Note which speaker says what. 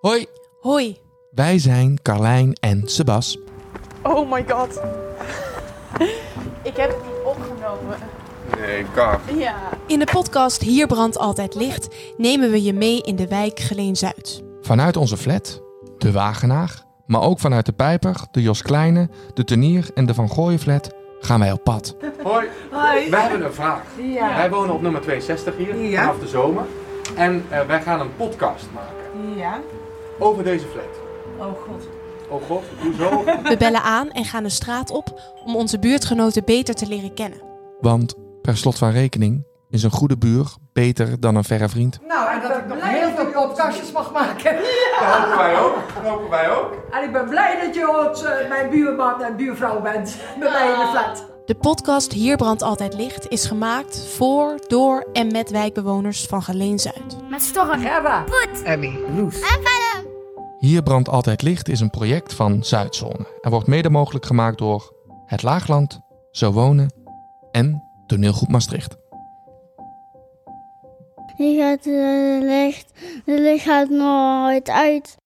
Speaker 1: Hoi,
Speaker 2: Hoi.
Speaker 1: wij zijn Carlijn en Sebas.
Speaker 2: Oh my god. Ik heb het niet opgenomen.
Speaker 3: Nee, kak.
Speaker 2: Ja. In de podcast Hier brandt altijd licht nemen we je mee in de wijk Geleen Zuid.
Speaker 1: Vanuit onze flat, de Wagenaag, maar ook vanuit de Pijper, de Jos Kleine, de Tenier en de Van Gooien flat gaan wij op pad.
Speaker 3: Hoi,
Speaker 4: Hoi.
Speaker 3: wij hebben een vraag.
Speaker 4: Ja.
Speaker 3: Wij wonen op nummer 62 hier,
Speaker 4: Ja.
Speaker 3: vanaf de zomer. En eh, wij gaan een podcast maken
Speaker 4: Ja.
Speaker 3: over deze flat.
Speaker 4: Oh god.
Speaker 3: Oh god, hoezo?
Speaker 2: We bellen aan en gaan de straat op om onze buurtgenoten beter te leren kennen.
Speaker 1: Want per slot van rekening is een goede buur beter dan een verre vriend.
Speaker 4: Nou, en dat ik nog heel veel podcastjes mag maken.
Speaker 3: Dat hopen wij ook. Dat hopen wij ook.
Speaker 4: En ik ben blij dat je ons, eh, mijn buurman en buurvrouw bent. Bij mij in de flat.
Speaker 2: De podcast Hier brandt altijd licht is gemaakt voor, door en met wijkbewoners van Geleen Zuid.
Speaker 5: Met storm.
Speaker 4: Gerba.
Speaker 1: Hier brandt altijd licht is een project van Zuidzone en wordt mede mogelijk gemaakt door Het Laagland, Zo Wonen en Toneelgroep Maastricht.
Speaker 5: Hier gaat eh, licht. Het licht gaat nooit uit.